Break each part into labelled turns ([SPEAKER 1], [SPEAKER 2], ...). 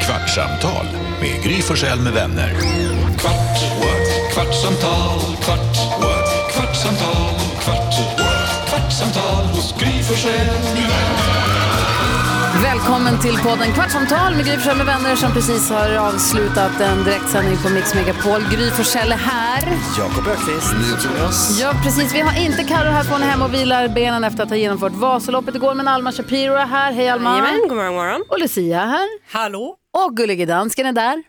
[SPEAKER 1] Kvartsamtal med Gry Forssell med vänner. Kvart, what? kvartsamtal, kvart, what? kvartsamtal, kvart, what? kvartsamtal hos Gry Forssell med vänner.
[SPEAKER 2] Välkommen till podden Kvartsamtal med Gry Forssell med vänner som precis har avslutat en direktsändning på Mix Megapol. Gry Forssell är här.
[SPEAKER 3] Jakob Öqvist.
[SPEAKER 2] Ja, precis. Vi har inte Carro här för hon är hemma och vilar benen efter att ha genomfört Vasaloppet igår. Men Alma Shapiro är här. Hej Alma.
[SPEAKER 4] Jajamän, god morgon, god morgon.
[SPEAKER 2] Och Lucia är här.
[SPEAKER 4] Hallå?
[SPEAKER 2] Och Gullige Dansken är där.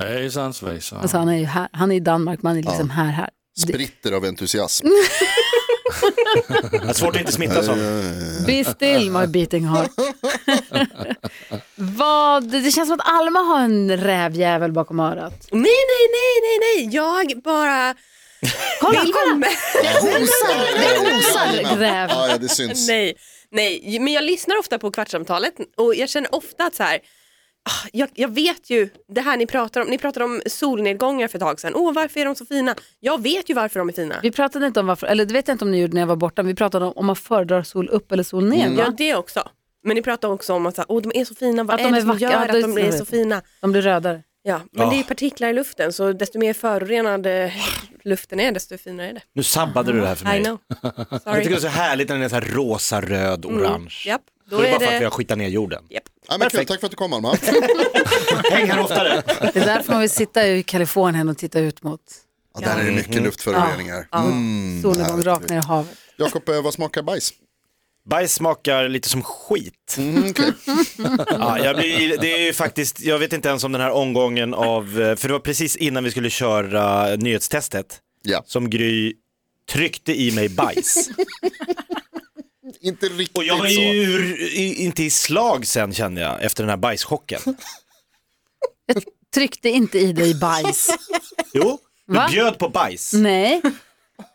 [SPEAKER 5] Hejsan svejsan.
[SPEAKER 2] Alltså, han är ju här. Han är i Danmark, man är liksom här, här.
[SPEAKER 6] Spritter av entusiasm.
[SPEAKER 3] Det är svårt att inte smittas av.
[SPEAKER 2] Be still my beating heart. Vad, det känns som att Alma har en rävjävel bakom örat.
[SPEAKER 4] Nej, nej, nej, nej, nej. Jag bara
[SPEAKER 2] Kolla,
[SPEAKER 4] vill
[SPEAKER 2] kolla!
[SPEAKER 4] vara med.
[SPEAKER 2] Osar, det osar räv.
[SPEAKER 6] Ja, ja, det syns.
[SPEAKER 4] nej, nej, men jag lyssnar ofta på Kvartsamtalet och jag känner ofta att så här, ah, jag, jag vet ju det här ni pratar om. Ni pratade om solnedgångar för ett tag sedan. Åh, varför är de så fina? Jag vet ju varför de är fina.
[SPEAKER 2] Vi pratade inte om varför, eller det vet jag inte om ni gjorde när jag var borta, men vi pratade om om man föredrar sol upp eller sol ner.
[SPEAKER 6] Mm.
[SPEAKER 4] Ja,
[SPEAKER 2] Va?
[SPEAKER 4] det också. Men ni pratade också om att så här, Åh, de är så fina. Vad
[SPEAKER 2] Att
[SPEAKER 4] är
[SPEAKER 2] de
[SPEAKER 4] det
[SPEAKER 2] är
[SPEAKER 4] som
[SPEAKER 2] vackra,
[SPEAKER 4] gör
[SPEAKER 2] ja, det
[SPEAKER 4] att de
[SPEAKER 2] jag
[SPEAKER 4] blir så
[SPEAKER 2] vet.
[SPEAKER 4] fina?
[SPEAKER 2] De blir rödare.
[SPEAKER 4] Ja, men det är ju
[SPEAKER 3] Ah.
[SPEAKER 4] partiklar i luften så desto mer förorenad eh, luften är desto finare är det.
[SPEAKER 3] Nu sabbade du det här för mig.
[SPEAKER 4] I know.
[SPEAKER 3] Ah. Jag tycker det
[SPEAKER 4] Sorry.
[SPEAKER 3] är så härligt när den är så här rosa, röd, orange.
[SPEAKER 4] Japp, då
[SPEAKER 3] Då är det bara
[SPEAKER 4] är
[SPEAKER 3] för att vi
[SPEAKER 4] det...
[SPEAKER 3] har skitat ner jorden.
[SPEAKER 4] Japp.
[SPEAKER 6] Ja, men kul, tack för att du kom Alma.
[SPEAKER 3] Häng här oftare.
[SPEAKER 2] Det är därför man vill sitta i Kalifornien och titta ut mot
[SPEAKER 6] Ja, där är det mycket luftföroreningar. Mm,
[SPEAKER 2] solnedgång
[SPEAKER 6] härligt.
[SPEAKER 2] rakt ner i havet.
[SPEAKER 6] Jakob, eh, vad smakar bajs?
[SPEAKER 3] Bajs smakar lite som skit.
[SPEAKER 6] Mm, okej.
[SPEAKER 3] Ja, jag, blir, det är ju faktiskt, jag vet inte ens om den här omgången av, eh, för det var precis innan vi skulle köra nyhetstestet
[SPEAKER 6] Ja,
[SPEAKER 3] som Gry tryckte i mig bajs.
[SPEAKER 6] inte riktigt
[SPEAKER 3] Och jag var
[SPEAKER 6] så.
[SPEAKER 3] ju ur- i- inte i slag sen kände jag efter den här bajschocken.
[SPEAKER 2] Jag tryckte inte i dig bajs.
[SPEAKER 3] Jo, du
[SPEAKER 2] Va? Mm.
[SPEAKER 3] bjöd på bajs.
[SPEAKER 2] Nej.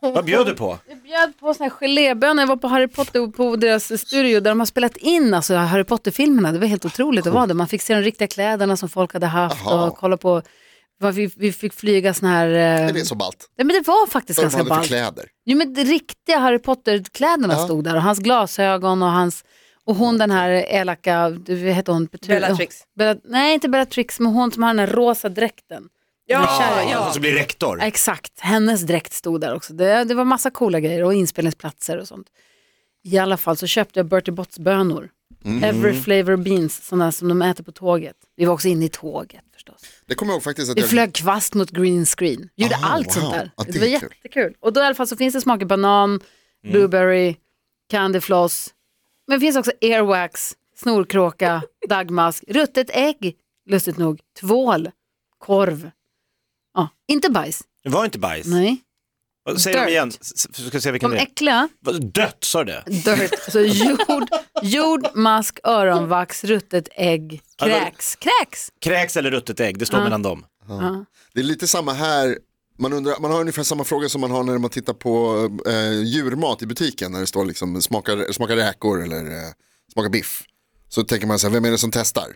[SPEAKER 3] Vad bjöd du på?
[SPEAKER 2] Jag bjöd på såna här gelébönor. Jag var på Harry Potter på deras studio där de har spelat in alltså, Harry Potter-filmerna. Det var helt otroligt att vara där. Man fick se de riktiga kläderna som folk hade haft
[SPEAKER 6] Aha.
[SPEAKER 2] och kolla på vad vi, vi fick flyga såna här... eh,
[SPEAKER 6] Det är så ballt.
[SPEAKER 2] Nej, men det var faktiskt
[SPEAKER 6] Vad de
[SPEAKER 2] ganska
[SPEAKER 6] hade för
[SPEAKER 2] ballt.
[SPEAKER 6] kläder.
[SPEAKER 2] Jo men det riktiga Harry Potter-kläderna
[SPEAKER 6] Ja.
[SPEAKER 2] stod där och hans glasögon och hans och hon den här elaka, du vad heter hon? Petu-
[SPEAKER 4] Bellatrix.
[SPEAKER 2] Bella, nej inte Bellatrix men hon som har den här rosa dräkten.
[SPEAKER 4] Ja,
[SPEAKER 3] Och
[SPEAKER 4] ja.
[SPEAKER 3] så Alltså, blir rektor.
[SPEAKER 2] Exakt, hennes dräkt stod där också. Det, det var massa coola grejer och inspelningsplatser och sånt. I alla fall så köpte jag Bertie Botts bönor. Every flavor beans, sådana som de äter på tåget. Vi var också inne i tåget förstås.
[SPEAKER 6] Det kommer jag ihåg faktiskt att
[SPEAKER 2] Vi
[SPEAKER 6] jag...
[SPEAKER 2] flög kvast mot green screen. Gjorde
[SPEAKER 6] Ah,
[SPEAKER 2] allt
[SPEAKER 6] wow.
[SPEAKER 2] sånt där.
[SPEAKER 6] Ja,
[SPEAKER 2] det,
[SPEAKER 6] det
[SPEAKER 2] var
[SPEAKER 6] är kul. Mm.
[SPEAKER 2] jättekul. Och då i alla fall så finns det smaker banan, blueberry, candy floss. Men det finns också airwax, snorkråka, dagmask, ruttet ägg, lustigt nog, tvål, korv. Ja, inte bajs.
[SPEAKER 3] Det var inte bajs.
[SPEAKER 2] Nej.
[SPEAKER 3] Vad- Säg dem
[SPEAKER 2] Dirt.
[SPEAKER 3] igen, S- s- ska se vilken
[SPEAKER 2] De
[SPEAKER 3] det är.
[SPEAKER 2] äckliga,
[SPEAKER 3] Vad- Dött sa du det?
[SPEAKER 2] dirt, alltså jord, jord, mask, öronvax, ruttet ägg,
[SPEAKER 6] Alltså,
[SPEAKER 3] Ja, men-
[SPEAKER 2] kräks. Kräks!
[SPEAKER 3] Kräks eller ruttet ägg, det står mellan dem.
[SPEAKER 6] Det är lite samma här. Man, undrar, man har ungefär samma fråga som man har när man tittar på eh, djurmat i butiken. När det står liksom smakar, smakar räkor eller eh, smakar biff. Så tänker man så här, vem är det som testar?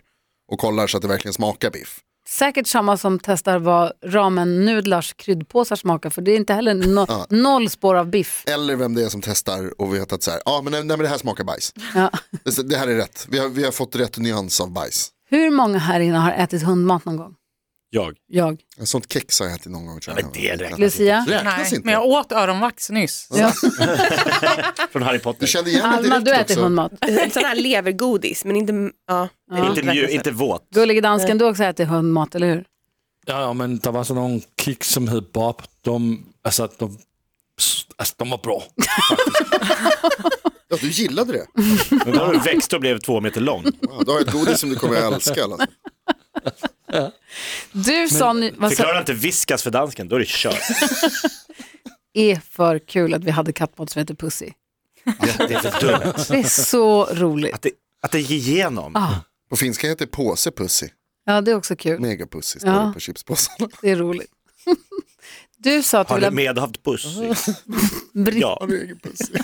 [SPEAKER 6] Och kollar så att det verkligen smakar biff.
[SPEAKER 2] Säkert samma som testar vad ramen-nudlars kryddpåsar smakar för det är inte heller no- noll spår av biff.
[SPEAKER 6] Eller vem det är som testar och vet att så här, ja men, nej, men det här smakar bajs.
[SPEAKER 2] Ja.
[SPEAKER 6] Det, det här är rätt, vi har, vi har fått rätt nyans av bajs.
[SPEAKER 2] Hur många här inne har ätit hundmat någon gång?
[SPEAKER 3] Jag.
[SPEAKER 2] Jag.
[SPEAKER 6] En sånt kex har jag ätit någon gång tror jag.
[SPEAKER 3] men det räknas
[SPEAKER 2] Lucia?
[SPEAKER 6] räknas
[SPEAKER 7] Nej,
[SPEAKER 6] inte.
[SPEAKER 7] men jag åt öronvax nyss.
[SPEAKER 2] Ja.
[SPEAKER 3] Från Harry
[SPEAKER 6] Du
[SPEAKER 3] Potter.
[SPEAKER 6] kände igen det
[SPEAKER 2] Alma,
[SPEAKER 6] direkt
[SPEAKER 2] du äter
[SPEAKER 6] också.
[SPEAKER 2] hundmat.
[SPEAKER 4] Sån här levergodis, men inte... Ja, det är
[SPEAKER 3] Inte, mjuk,
[SPEAKER 4] verkligen så.
[SPEAKER 3] inte våt.
[SPEAKER 2] Gullige dansken, du har också ätit hundmat, eller hur?
[SPEAKER 5] Ja, ja, men det var sådan nogle klik, som hed Bob. De, altså, de, s- altså, de var bra.
[SPEAKER 6] Ja, du gillade det.
[SPEAKER 3] Men då har du växt och blev två meter lång.
[SPEAKER 6] Wow, du har ett godis som du kommer att älska. Alltså.
[SPEAKER 2] Du sa nu, vad sa,
[SPEAKER 3] Förklara inte viskas för dansken, då är det kört.
[SPEAKER 2] är för kul att vi hade kattmat som heter Pussy.
[SPEAKER 3] Det, det är för dumt.
[SPEAKER 2] Det är så roligt.
[SPEAKER 3] Att det, att det gick igenom.
[SPEAKER 2] Ah,
[SPEAKER 6] På finska heter det påsepussy.
[SPEAKER 2] ja, det är också kul.
[SPEAKER 6] Megapussy står
[SPEAKER 2] Ja.
[SPEAKER 6] det på chipspåsarna.
[SPEAKER 2] Det är roligt. Du sa att du
[SPEAKER 3] Har du
[SPEAKER 2] ville
[SPEAKER 3] medhavd puss?
[SPEAKER 2] ha bri-
[SPEAKER 3] Ja,
[SPEAKER 6] Har du egen pussy?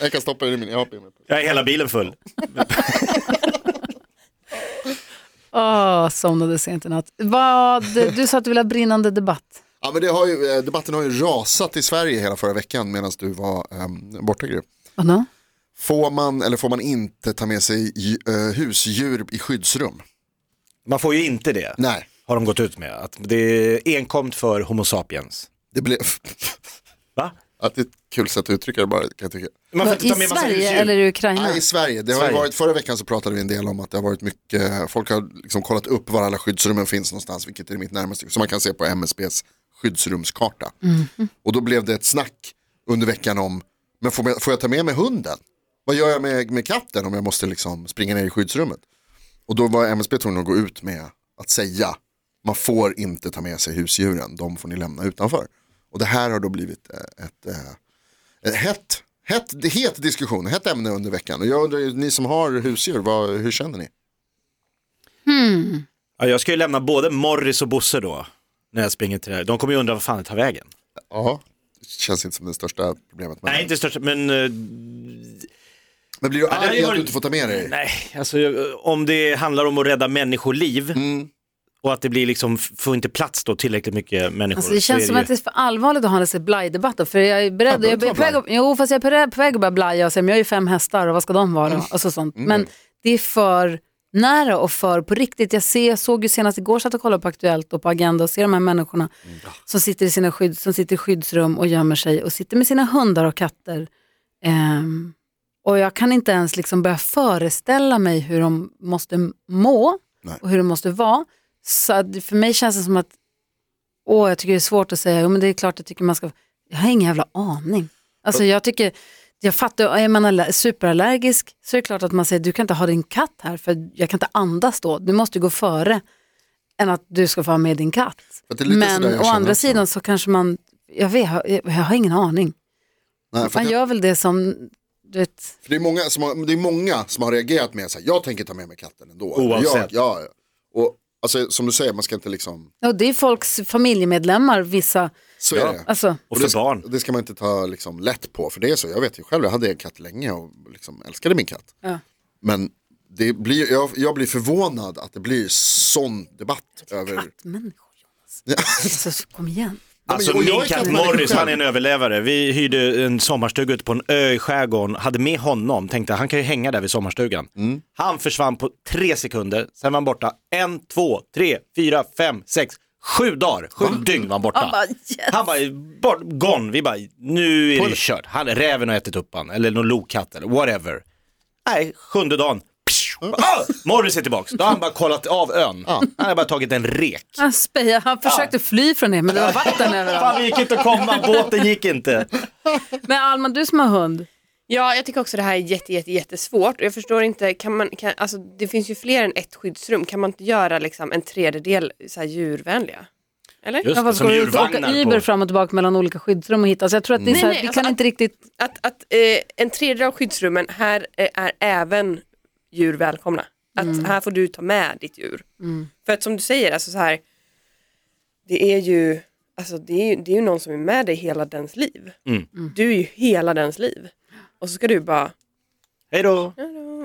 [SPEAKER 6] jag kan stoppa den i min, jag har på mig.
[SPEAKER 3] jag är hela bilen full.
[SPEAKER 2] Åh, Ah, somnade sent i natt. Vad, du sa att du ville ha brinnande debatt.
[SPEAKER 6] Ja, men det har ju, eh, debatten har ju rasat i Sverige hela förra veckan medan du var um, borta Gry.
[SPEAKER 2] Vadå?
[SPEAKER 6] Får man eller får man inte ta med sig dju- eh, husdjur i skyddsrum?
[SPEAKER 3] Man får ju inte det,
[SPEAKER 6] Nej,
[SPEAKER 3] har de gått ut med. Att det är enkomt för Homo sapiens.
[SPEAKER 6] det blev...
[SPEAKER 3] Va?
[SPEAKER 6] Att det är ett kul sätt att uttrycka det bara kan jag tycka.
[SPEAKER 3] Man får
[SPEAKER 2] I
[SPEAKER 3] inte ta med massa
[SPEAKER 2] Sverige
[SPEAKER 3] husdjur.
[SPEAKER 2] eller i Ukraina?
[SPEAKER 6] Nej, i Sverige. Det har ju
[SPEAKER 3] Sverige.
[SPEAKER 6] varit, förra veckan så pratade vi en del om att det har varit mycket, folk har liksom kollat upp var alla skyddsrummen finns någonstans, vilket är mitt närmaste, som man kan se på MSBs skyddsrumskarta. Och då blev det ett snack under veckan om, men får, jag- får jag ta med mig hunden? Vad gör jag med, med katten om jag måste liksom springa ner i skyddsrummet? Och då var MSB tvungen att gå ut med att säga, man får inte ta med sig husdjuren, de får ni lämna utanför. Och det här har då blivit eh, ett eh, Eh, hett, hett, het diskussion, hett ämne under veckan. Och jag undrar, ju, ni som har husdjur, vad, hur känner ni?
[SPEAKER 3] Ja, jag ska ju lämna både Morris och Bosse då, när jag springer till det här. De kommer ju undra vad fan det tar vägen.
[SPEAKER 6] Ja. Det känns inte som det största problemet. Men,
[SPEAKER 3] Nej, inte störst, men eh,
[SPEAKER 6] men blir du
[SPEAKER 3] det hade
[SPEAKER 6] arg att
[SPEAKER 3] varit-
[SPEAKER 6] du inte får ta med dig?
[SPEAKER 3] nej, alltså eh, om det handlar om att rädda människoliv
[SPEAKER 6] Mm.
[SPEAKER 3] och att det blir liksom, f- får inte plats då tillräckligt mycket människor.
[SPEAKER 2] Alltså, det
[SPEAKER 3] så
[SPEAKER 2] känns
[SPEAKER 3] är
[SPEAKER 2] som
[SPEAKER 3] ju-
[SPEAKER 2] att det är för allvarligt att ha en sån här blaj-debatt då, för jag är beredd,
[SPEAKER 6] behöver
[SPEAKER 2] jag
[SPEAKER 6] inte
[SPEAKER 2] är på
[SPEAKER 6] vara
[SPEAKER 2] väg, att- jo fast jag är på väg- på väg att börja blaja och säga, men jag har ju fem hästar och vad ska de
[SPEAKER 3] Mm.
[SPEAKER 2] vara och så sånt. Men det är för nära och för på riktigt. Jag ser, såg ju senast igår, satt och kollade på Aktuellt och på Agenda och ser de här människorna
[SPEAKER 3] Mm.
[SPEAKER 2] som, sitter i sina skydd, som sitter i skyddsrum och gömmer sig och sitter med sina hundar och katter. Ehm, och jag kan inte ens liksom börja föreställa mig hur de måste må
[SPEAKER 6] Nej.
[SPEAKER 2] och hur de måste vara. Så att för mig känns det som att Åh, jag tycker det är svårt att säga, jo men det är klart jag tycker man ska, jag har ingen jävla aning. Alltså jag tycker, jag fattar, är man aller- superallergisk så är det klart att man säger, du kan inte ha din katt här för jag kan inte andas då, du måste gå före än att du ska få ha med din katt.
[SPEAKER 6] För att det är lite
[SPEAKER 2] Men
[SPEAKER 6] sådär jag
[SPEAKER 2] å
[SPEAKER 6] känner
[SPEAKER 2] andra
[SPEAKER 6] också.
[SPEAKER 2] sidan så kanske man, jag, vet, jag, jag har ingen aning.
[SPEAKER 6] Nej, för,
[SPEAKER 2] Man
[SPEAKER 6] att jag,
[SPEAKER 2] gör väl det som, du vet,
[SPEAKER 6] för det, är många som har, det är många som har reagerat med att jag tänker ta med mig katten ändå. Eller Jag,
[SPEAKER 3] Oavsett.
[SPEAKER 6] ja, ja. Och, alltså, som du säger, man ska inte liksom,
[SPEAKER 2] och det är folks familjemedlemmar, vissa,
[SPEAKER 6] så
[SPEAKER 3] Ja.
[SPEAKER 6] är det.
[SPEAKER 2] alltså
[SPEAKER 3] Och för barn.
[SPEAKER 6] Det, det ska man inte ta liksom, lätt på, för det är så. Jag vet ju själv, jag hade en katt länge och liksom, älskade min katt.
[SPEAKER 2] Ja.
[SPEAKER 6] Men det blir, jag, jag blir förvånad att det blir sån debatt. över...
[SPEAKER 2] kattmänniskor Jonas. Alltså kom igen.
[SPEAKER 6] men
[SPEAKER 3] Alltså
[SPEAKER 6] jag- jag
[SPEAKER 3] min
[SPEAKER 6] är
[SPEAKER 3] katt
[SPEAKER 6] kattmänniska
[SPEAKER 3] Morris,
[SPEAKER 6] själv.
[SPEAKER 3] han är en överlevare. Vi hyrde en sommarstuga ute på en ö i skärgården, hade med honom, tänkte han kan ju hänga där vid sommarstugan. Han försvann på tre sekunder, sen var han borta en, två, tre, fyra, fem, sex, sju dagar, sju dygn var han borta.
[SPEAKER 2] Han bara, yes.
[SPEAKER 3] Han bara, bort, gone. Vi bara, nu är det kört. Han, räven har ätit upp han, eller någon lokatt eller whatever. Nej, sjunde dagen. Psh! Ah! Morris är tillbaks. Då har han bara kollat av ön. Han har bara tagit en rek.
[SPEAKER 2] Han spejade, han försökte fly från det men det var vatten överallt.
[SPEAKER 3] Fan, det gick inte att komma, båten gick inte.
[SPEAKER 2] Men Alman, du som har hund,
[SPEAKER 4] Ja, jag tycker också det här är jätte, jätte, jättesvårt. Och Jag förstår inte, kan man, kan, alltså, det finns ju fler än ett skyddsrum. Kan man inte göra liksom, en tredjedel så här, djurvänliga? Eller?
[SPEAKER 3] Just
[SPEAKER 2] ja,
[SPEAKER 3] det,
[SPEAKER 2] vad ska
[SPEAKER 3] som
[SPEAKER 2] du åka
[SPEAKER 3] djurvagnar
[SPEAKER 2] Uber
[SPEAKER 3] på.
[SPEAKER 2] fram och tillbaka mellan olika skyddsrum och hitta? Så jag tror att det är så här,
[SPEAKER 4] Nej, nej,
[SPEAKER 2] vi kan
[SPEAKER 4] alltså-
[SPEAKER 2] inte riktigt,
[SPEAKER 4] Att, att eh, en tredjedel av skyddsrummen, här eh, är även djur välkomna. Att här får du ta med ditt djur. För att som du säger, alltså så här, det är ju Alltså det är, ju- det är ju någon som är med dig hela dens liv. Du är ju hela dens liv. Och så ska du bara
[SPEAKER 3] Hej då.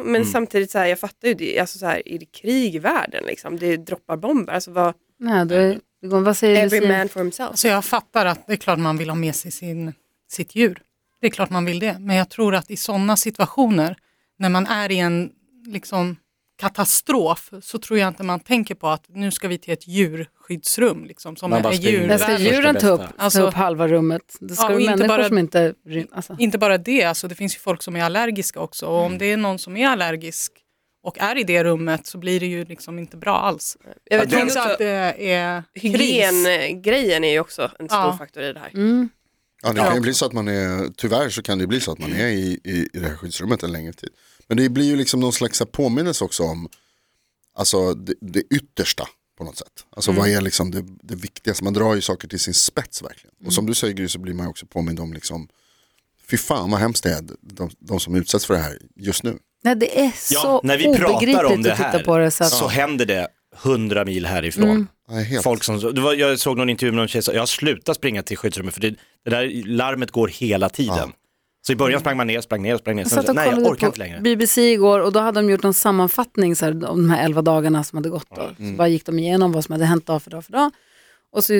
[SPEAKER 4] Men samtidigt, så här, jag fattar ju det. Alltså, så här, är det krig i världen? Liksom? Det droppar bomber. Alltså, vad,
[SPEAKER 2] nej, då är, det går- vad säger
[SPEAKER 4] every
[SPEAKER 2] Lucia?
[SPEAKER 4] man for himself.
[SPEAKER 7] Alltså jag fattar att det är klart man vill ha med sig sin, sitt djur. Det är klart man vill det. Men jag tror att i sådana situationer, när man är i en liksom, katastrof, så tror jag inte man tänker på att nu ska vi till ett djurskyddsrum. Liksom, som
[SPEAKER 3] Man
[SPEAKER 7] är
[SPEAKER 3] bara springer.
[SPEAKER 2] Där ska
[SPEAKER 7] djurvänligt.
[SPEAKER 3] Första
[SPEAKER 2] djuren ta upp,
[SPEAKER 3] bästa.
[SPEAKER 2] ta
[SPEAKER 7] Alltså-
[SPEAKER 2] upp halva rummet. Det ska
[SPEAKER 7] Ja, och
[SPEAKER 2] vara
[SPEAKER 7] inte
[SPEAKER 2] människor
[SPEAKER 7] bara-
[SPEAKER 2] som inte rym- alltså.
[SPEAKER 7] Inte bara det, alltså, det finns ju folk som är allergiska också. Och
[SPEAKER 3] Mm.
[SPEAKER 7] om det är någon som är allergisk och är i det rummet så blir det ju liksom inte bra alls.
[SPEAKER 4] Jag
[SPEAKER 7] Jag
[SPEAKER 4] vet,
[SPEAKER 7] tror
[SPEAKER 4] också,
[SPEAKER 7] också att det är kris.
[SPEAKER 4] hygiengrejen är ju också en stor
[SPEAKER 7] Ja.
[SPEAKER 4] faktor i det här.
[SPEAKER 2] Mm.
[SPEAKER 6] Ja, det kan ju bli så att man är, tyvärr så kan det ju bli så att man är i, i, i det här skyddsrummet en längre tid. Men det blir ju liksom någon slags så här påminnelse också om alltså, det, det yttersta på något sätt. Alltså vad är liksom det, det viktigaste, man drar ju saker till sin spets verkligen. Och som du säger Gry så blir man ju också påmind om liksom, fy fan vad hemskt det är de, de som utsätts för det här just nu.
[SPEAKER 2] Nej, det är så
[SPEAKER 3] Ja, när vi
[SPEAKER 2] obegripligt
[SPEAKER 3] pratar om det
[SPEAKER 2] att titta
[SPEAKER 3] här
[SPEAKER 2] på det. Så
[SPEAKER 3] så,
[SPEAKER 2] att, Mm.
[SPEAKER 3] händer det hundra mil härifrån.
[SPEAKER 6] Ja, helt.
[SPEAKER 3] Folk som, det var, jag såg någon intervju med någon tjej som sa, jag har slutat springa till skyddsrummet för det, det där larmet går hela tiden. Så i början sprang man ner, sprang ner, sprang ner.
[SPEAKER 2] Jag
[SPEAKER 3] Sen,
[SPEAKER 2] satt och
[SPEAKER 3] nej, jag
[SPEAKER 2] kollade
[SPEAKER 3] orkar
[SPEAKER 2] på
[SPEAKER 3] inte längre.
[SPEAKER 2] BBC igår och då hade de gjort någon sammanfattning så här, om
[SPEAKER 3] Mm.
[SPEAKER 2] de här elva dagarna som hade gått. Då. Så bara gick de igenom vad som hade hänt dag för dag för dag. Och så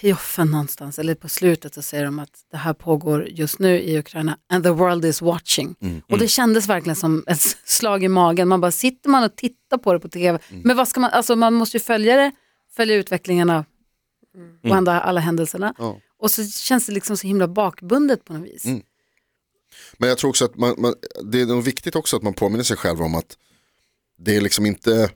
[SPEAKER 2] i offen någonstans, eller på slutet, så säger de att det här pågår just nu i Ukraina and the world is watching.
[SPEAKER 3] Mm.
[SPEAKER 2] Och det kändes verkligen som ett slag i magen. Man bara sitter man och tittar på det på tv.
[SPEAKER 3] Mm.
[SPEAKER 2] Men vad ska man, alltså man måste ju följa det, följa utvecklingarna
[SPEAKER 3] Mm.
[SPEAKER 2] och andra, alla händelserna.
[SPEAKER 6] Ja.
[SPEAKER 2] Och så känns det liksom så himla bakbundet på något vis.
[SPEAKER 3] Mm.
[SPEAKER 6] Men jag tror också att man, man, det är nog viktigt också att man påminner sig själv om att det är liksom inte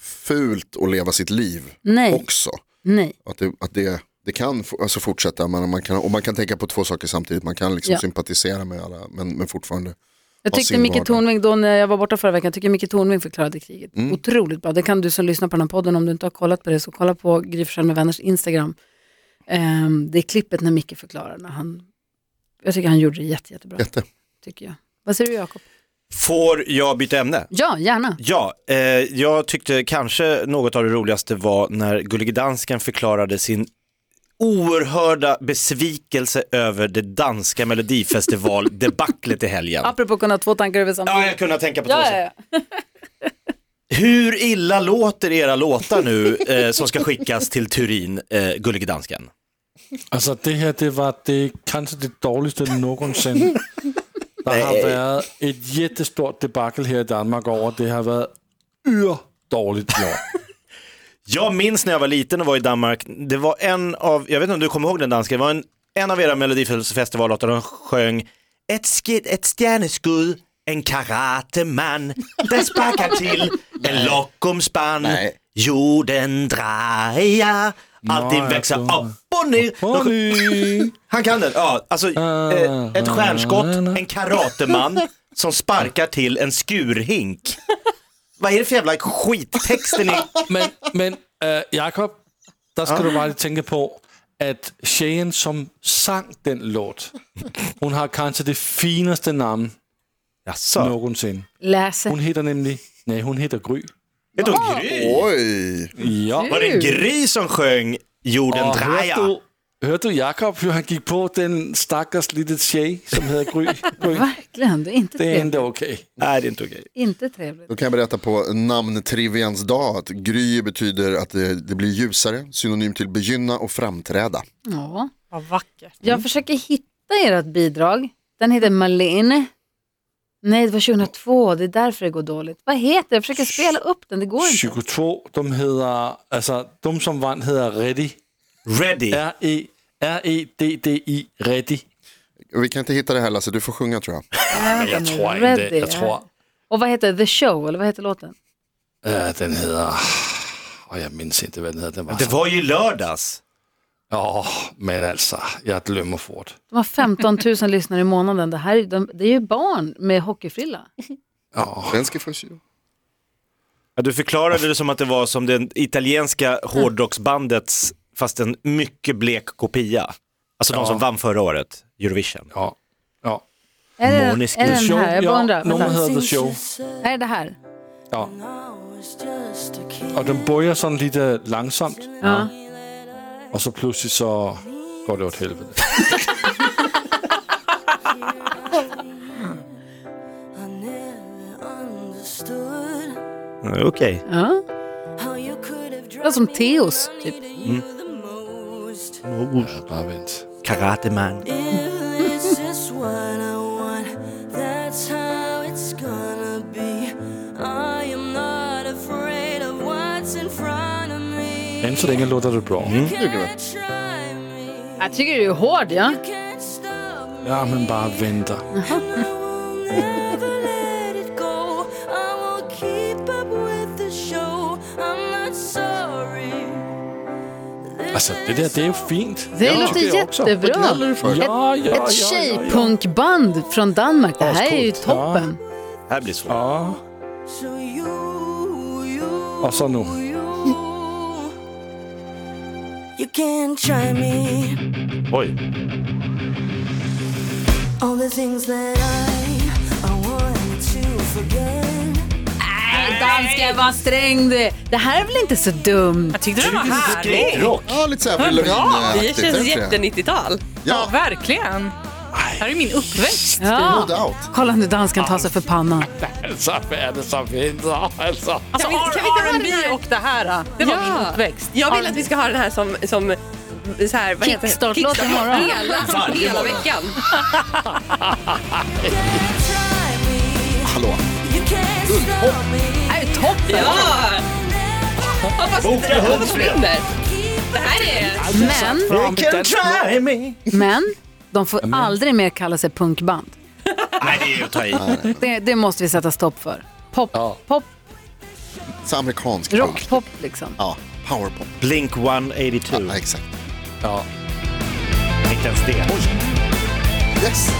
[SPEAKER 6] fult att leva sitt liv
[SPEAKER 2] Nej.
[SPEAKER 6] också.
[SPEAKER 2] Nej.
[SPEAKER 6] Att det, att det, det kan f- alltså fortsätta, man, man kan, och man kan tänka på två saker samtidigt, man kan liksom
[SPEAKER 2] Ja.
[SPEAKER 6] sympatisera med alla, men, men fortfarande.
[SPEAKER 2] Jag
[SPEAKER 6] ha
[SPEAKER 2] tyckte
[SPEAKER 6] sin
[SPEAKER 2] Micke
[SPEAKER 6] vardag.
[SPEAKER 2] Tornving, då när jag var borta förra veckan, jag tycker Micke Tornving förklarade kriget otroligt bra. Det kan du som lyssnar på den här podden, om du inte har kollat på det, så kolla på Gry Forssell med vänners Instagram. Ehm, det är klippet när Micke förklarar. När han, jag tycker han gjorde det jätte, jättebra.
[SPEAKER 6] Jätte.
[SPEAKER 2] Tycker jag. Vad säger du Jakob?
[SPEAKER 3] Får jag byta ämne?
[SPEAKER 2] Ja, gärna.
[SPEAKER 3] Ja, eh, jag tyckte kanske något av det roligaste var när Gullige Dansken förklarade sin oerhörda besvikelse över det danska melodifestival-debaclet i helgen.
[SPEAKER 2] Apropå kunna ha två tankar över samma
[SPEAKER 3] Ja, jag kunde tänka på två
[SPEAKER 2] ja,
[SPEAKER 3] saker.
[SPEAKER 2] ja, ja.
[SPEAKER 3] Hur illa låter era låtar nu eh, som ska skickas till Turin, eh, Gullige Dansken?
[SPEAKER 5] Altså det her, det var det kanskje det dårligste nogensinde. Der har været et jättestort debakel her i Danmark over, det har været yr dårligt i år.
[SPEAKER 3] Jag minns när jag var liten och var i Danmark, det var en av, jag vet inte om du kommer ihåg den dansken, det var en, en av era melodifestivallåtar, de sjöng ett, skid, ett stjärneskudd, en karateman, det sparkar till, en lockomspann,
[SPEAKER 6] Nej.
[SPEAKER 3] jorden draja, allting
[SPEAKER 5] Nej,
[SPEAKER 3] växer
[SPEAKER 5] jag tror-
[SPEAKER 3] upp och ner. De sjöng-
[SPEAKER 5] Bonnie!
[SPEAKER 3] Han kan den, ja. Alltså, eh, ett stjärnskott, en karateman som sparkar till en skurhink. Vad är det för jävla skittexten i...
[SPEAKER 5] Men, men øh, Jakob, der skal du bare lige tænke på, at Shayen, som sang den låt, hun har kanskje det fineste navn
[SPEAKER 3] Jaså?
[SPEAKER 5] nogensinde.
[SPEAKER 2] Läser.
[SPEAKER 5] Hun hedder nemlig, nej, hun hedder Gry.
[SPEAKER 3] Vet du, Gry?
[SPEAKER 6] Oj,
[SPEAKER 5] Ja.
[SPEAKER 3] Var det en Gry som sjöng Jorden
[SPEAKER 5] Og hørte
[SPEAKER 3] Draja?
[SPEAKER 5] du, hørte du Jakob, hvor han gik på den stakkels lille tjej, som hedder Gry? Gry.
[SPEAKER 2] Verkligen, det är inte
[SPEAKER 5] Det er
[SPEAKER 2] trevligt.
[SPEAKER 5] endda okay.
[SPEAKER 3] Nej, det är inte okej.
[SPEAKER 2] Inte trevligt.
[SPEAKER 6] då kan jag berätta på namntrivians dag att gry betyder att det, det blir ljusare, synonym till begynna och framträda.
[SPEAKER 2] Ja.
[SPEAKER 7] Vad vackert.
[SPEAKER 2] Jag försöker hitta ert bidrag. Den heter Malin. Nej, det var 2002, det är därför det går dåligt. Vad heter det? Jag försöker spela upp den, det går inte.
[SPEAKER 5] Psyko 2, de hedder, altså dem som vandt hedder Reddy.
[SPEAKER 3] Ready.
[SPEAKER 5] R-E, R-E-D-D-I, Reddy.
[SPEAKER 6] Vi kan inte hitta det här Lasse, du får sjunga tror jag.
[SPEAKER 2] Nej,
[SPEAKER 5] Jeg
[SPEAKER 2] vänta nu.
[SPEAKER 5] tror ikke det.
[SPEAKER 2] Ready,
[SPEAKER 5] Jeg tror,
[SPEAKER 2] Och vad heter The Show, eller vad heter låten?
[SPEAKER 5] øh, den hedder... Og jeg mindes ikke, hvad den hedder. Den var
[SPEAKER 3] Det
[SPEAKER 5] så...
[SPEAKER 3] var ju i lördags.
[SPEAKER 5] Åh, men altså, jeg glemmer fort.
[SPEAKER 2] De har 15 000 lyssnare i månaden. Det, här, är- de, det är ju barn med hockeyfrilla.
[SPEAKER 5] Åh,
[SPEAKER 6] Svenska först.
[SPEAKER 3] Ja, du förklarade det som att det var som det italienska hårdrocksbandets, fast en mycket blek kopia. Alltså de som vann förra året, Eurovision.
[SPEAKER 5] ja, ja.
[SPEAKER 2] Är det,
[SPEAKER 3] Måneskin.
[SPEAKER 2] är det den här? Jag bara undrar.
[SPEAKER 5] ja, nummer
[SPEAKER 2] Vänta.
[SPEAKER 5] hedder The Show.
[SPEAKER 2] Är det det här?
[SPEAKER 5] Ja. Og den bøjer sådan lidt øh, langsomt,
[SPEAKER 2] Ja.
[SPEAKER 5] og så pludselig så går det åt helvede.
[SPEAKER 3] Ja, Okej.
[SPEAKER 2] ja. Det låter som Teos, typ.
[SPEAKER 5] Ja, Bare vent.
[SPEAKER 3] Karateman.
[SPEAKER 5] Än så længe låter det bra.
[SPEAKER 2] Jag tycker du är hård, ja.
[SPEAKER 5] Ja, men bare venter. Altså, det der, det er jo fint.
[SPEAKER 2] Det
[SPEAKER 5] Jeg
[SPEAKER 2] låter
[SPEAKER 5] tycker också.
[SPEAKER 2] jättebra.
[SPEAKER 5] Ja, ja, ja, ja,
[SPEAKER 2] Ett
[SPEAKER 5] ja.
[SPEAKER 2] tjejpunkband från Danmark. Det här är ju
[SPEAKER 5] Ascoolt. Ja.
[SPEAKER 2] toppen.
[SPEAKER 3] Det här blir svårt.
[SPEAKER 5] Ja. Og så nu.
[SPEAKER 8] You can try me.
[SPEAKER 3] Oj.
[SPEAKER 8] All the things that I, I wanted to forget.
[SPEAKER 2] Nej, dansken vad sträng du är. Det här är väl inte så dumt?
[SPEAKER 7] Jag tyckte den var härlig.
[SPEAKER 3] Rock.
[SPEAKER 6] Ja, lite så här
[SPEAKER 7] Vad
[SPEAKER 6] Avril
[SPEAKER 7] bra.
[SPEAKER 4] Det
[SPEAKER 6] Lavigne-aktigt. är
[SPEAKER 4] känns
[SPEAKER 6] det inte det?
[SPEAKER 4] jätte 90-tal.
[SPEAKER 7] Ja,
[SPEAKER 6] Ja,
[SPEAKER 7] verkligen. Det här är min uppväxt.
[SPEAKER 2] Ja.
[SPEAKER 6] no doubt.
[SPEAKER 2] Kolla nu dansken tar sig för pannan.
[SPEAKER 5] Altså, hvad er det så fint? Altså.
[SPEAKER 7] Alltså
[SPEAKER 4] Kan vi- kan vi inte ha den
[SPEAKER 7] R&B
[SPEAKER 4] här?
[SPEAKER 7] och det här. Det var min uppväxt.
[SPEAKER 4] Jag vill att vi ska ha den här som, som så här, vad heter det?
[SPEAKER 2] Kickstart-låt
[SPEAKER 4] Kickstart-
[SPEAKER 2] imorgon.
[SPEAKER 4] Hela, hela veckan.
[SPEAKER 6] Hallå.
[SPEAKER 2] Det här är toppen!
[SPEAKER 4] Ja! Hoppas inte det här försvinner. Det här är...
[SPEAKER 2] Men,
[SPEAKER 3] You can try me.
[SPEAKER 2] men, de får aldrig mer kalla sig punkband.
[SPEAKER 3] Nej, det är ju att ta i.
[SPEAKER 2] Det, det måste vi sätta stopp för. Pop,
[SPEAKER 5] Ja.
[SPEAKER 2] pop,
[SPEAKER 6] Så amerikansk punk.
[SPEAKER 2] rockpop liksom.
[SPEAKER 6] Ja, powerpop.
[SPEAKER 3] Blink 182.
[SPEAKER 6] Ja, exakt.
[SPEAKER 5] Ja.
[SPEAKER 3] Inte ens det.
[SPEAKER 6] Yes!